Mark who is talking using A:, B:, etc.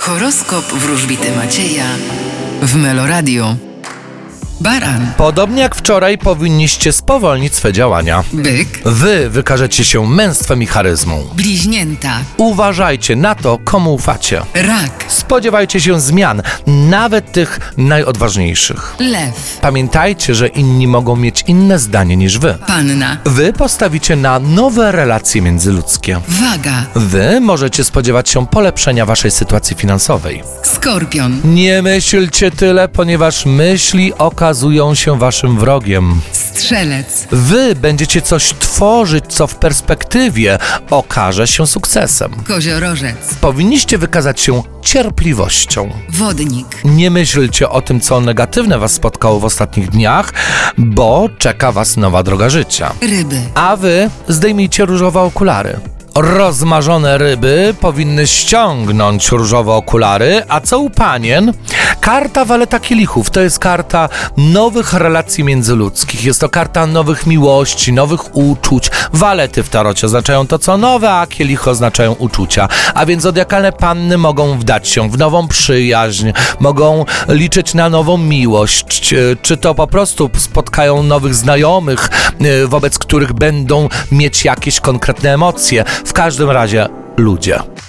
A: Horoskop wróżbity Macieja w Meloradio. Baran,
B: Podobnie jak wczoraj powinniście spowolnić swe działania.
A: byk,
B: Wy wykażecie się męstwem i charyzmą.
A: bliźnięta,
B: Uważajcie na to, komu ufacie.
A: rak,
B: Spodziewajcie się zmian, nawet tych najodważniejszych.
A: lew,
B: Pamiętajcie, że inni mogą mieć inne zdanie niż wy.
A: panna,
B: Wy postawicie na nowe relacje międzyludzkie.
A: waga,
B: Wy możecie spodziewać się polepszenia waszej sytuacji finansowej.
A: skorpion,
B: Nie myślcie tyle, ponieważ myśli okazują się waszym wrogiem.
A: strzelec,
B: Wy będziecie coś tworzyć, co w perspektywie okaże się sukcesem.
A: koziorożec,
B: Powinniście wykazać się cierpliwością.
A: wodnik,
B: Nie myślcie o tym, co negatywne Was spotkało w ostatnich dniach, bo czeka Was nowa droga życia.
A: ryby,
B: A Wy zdejmijcie różowe okulary. Rozmarzone ryby powinny ściągnąć różowe okulary, a co u panien? Karta waleta kielichów to jest karta nowych relacji międzyludzkich. Jest to karta nowych miłości, nowych uczuć. Walety w tarocie oznaczają to, co nowe, a kielichy oznaczają uczucia. A więc zodiakalne panny mogą wdać się w nową przyjaźń, mogą liczyć na nową miłość. Czy- Czy to po prostu spotkają nowych znajomych, y, wobec których będą mieć jakieś konkretne emocje. W każdym razie ludzie.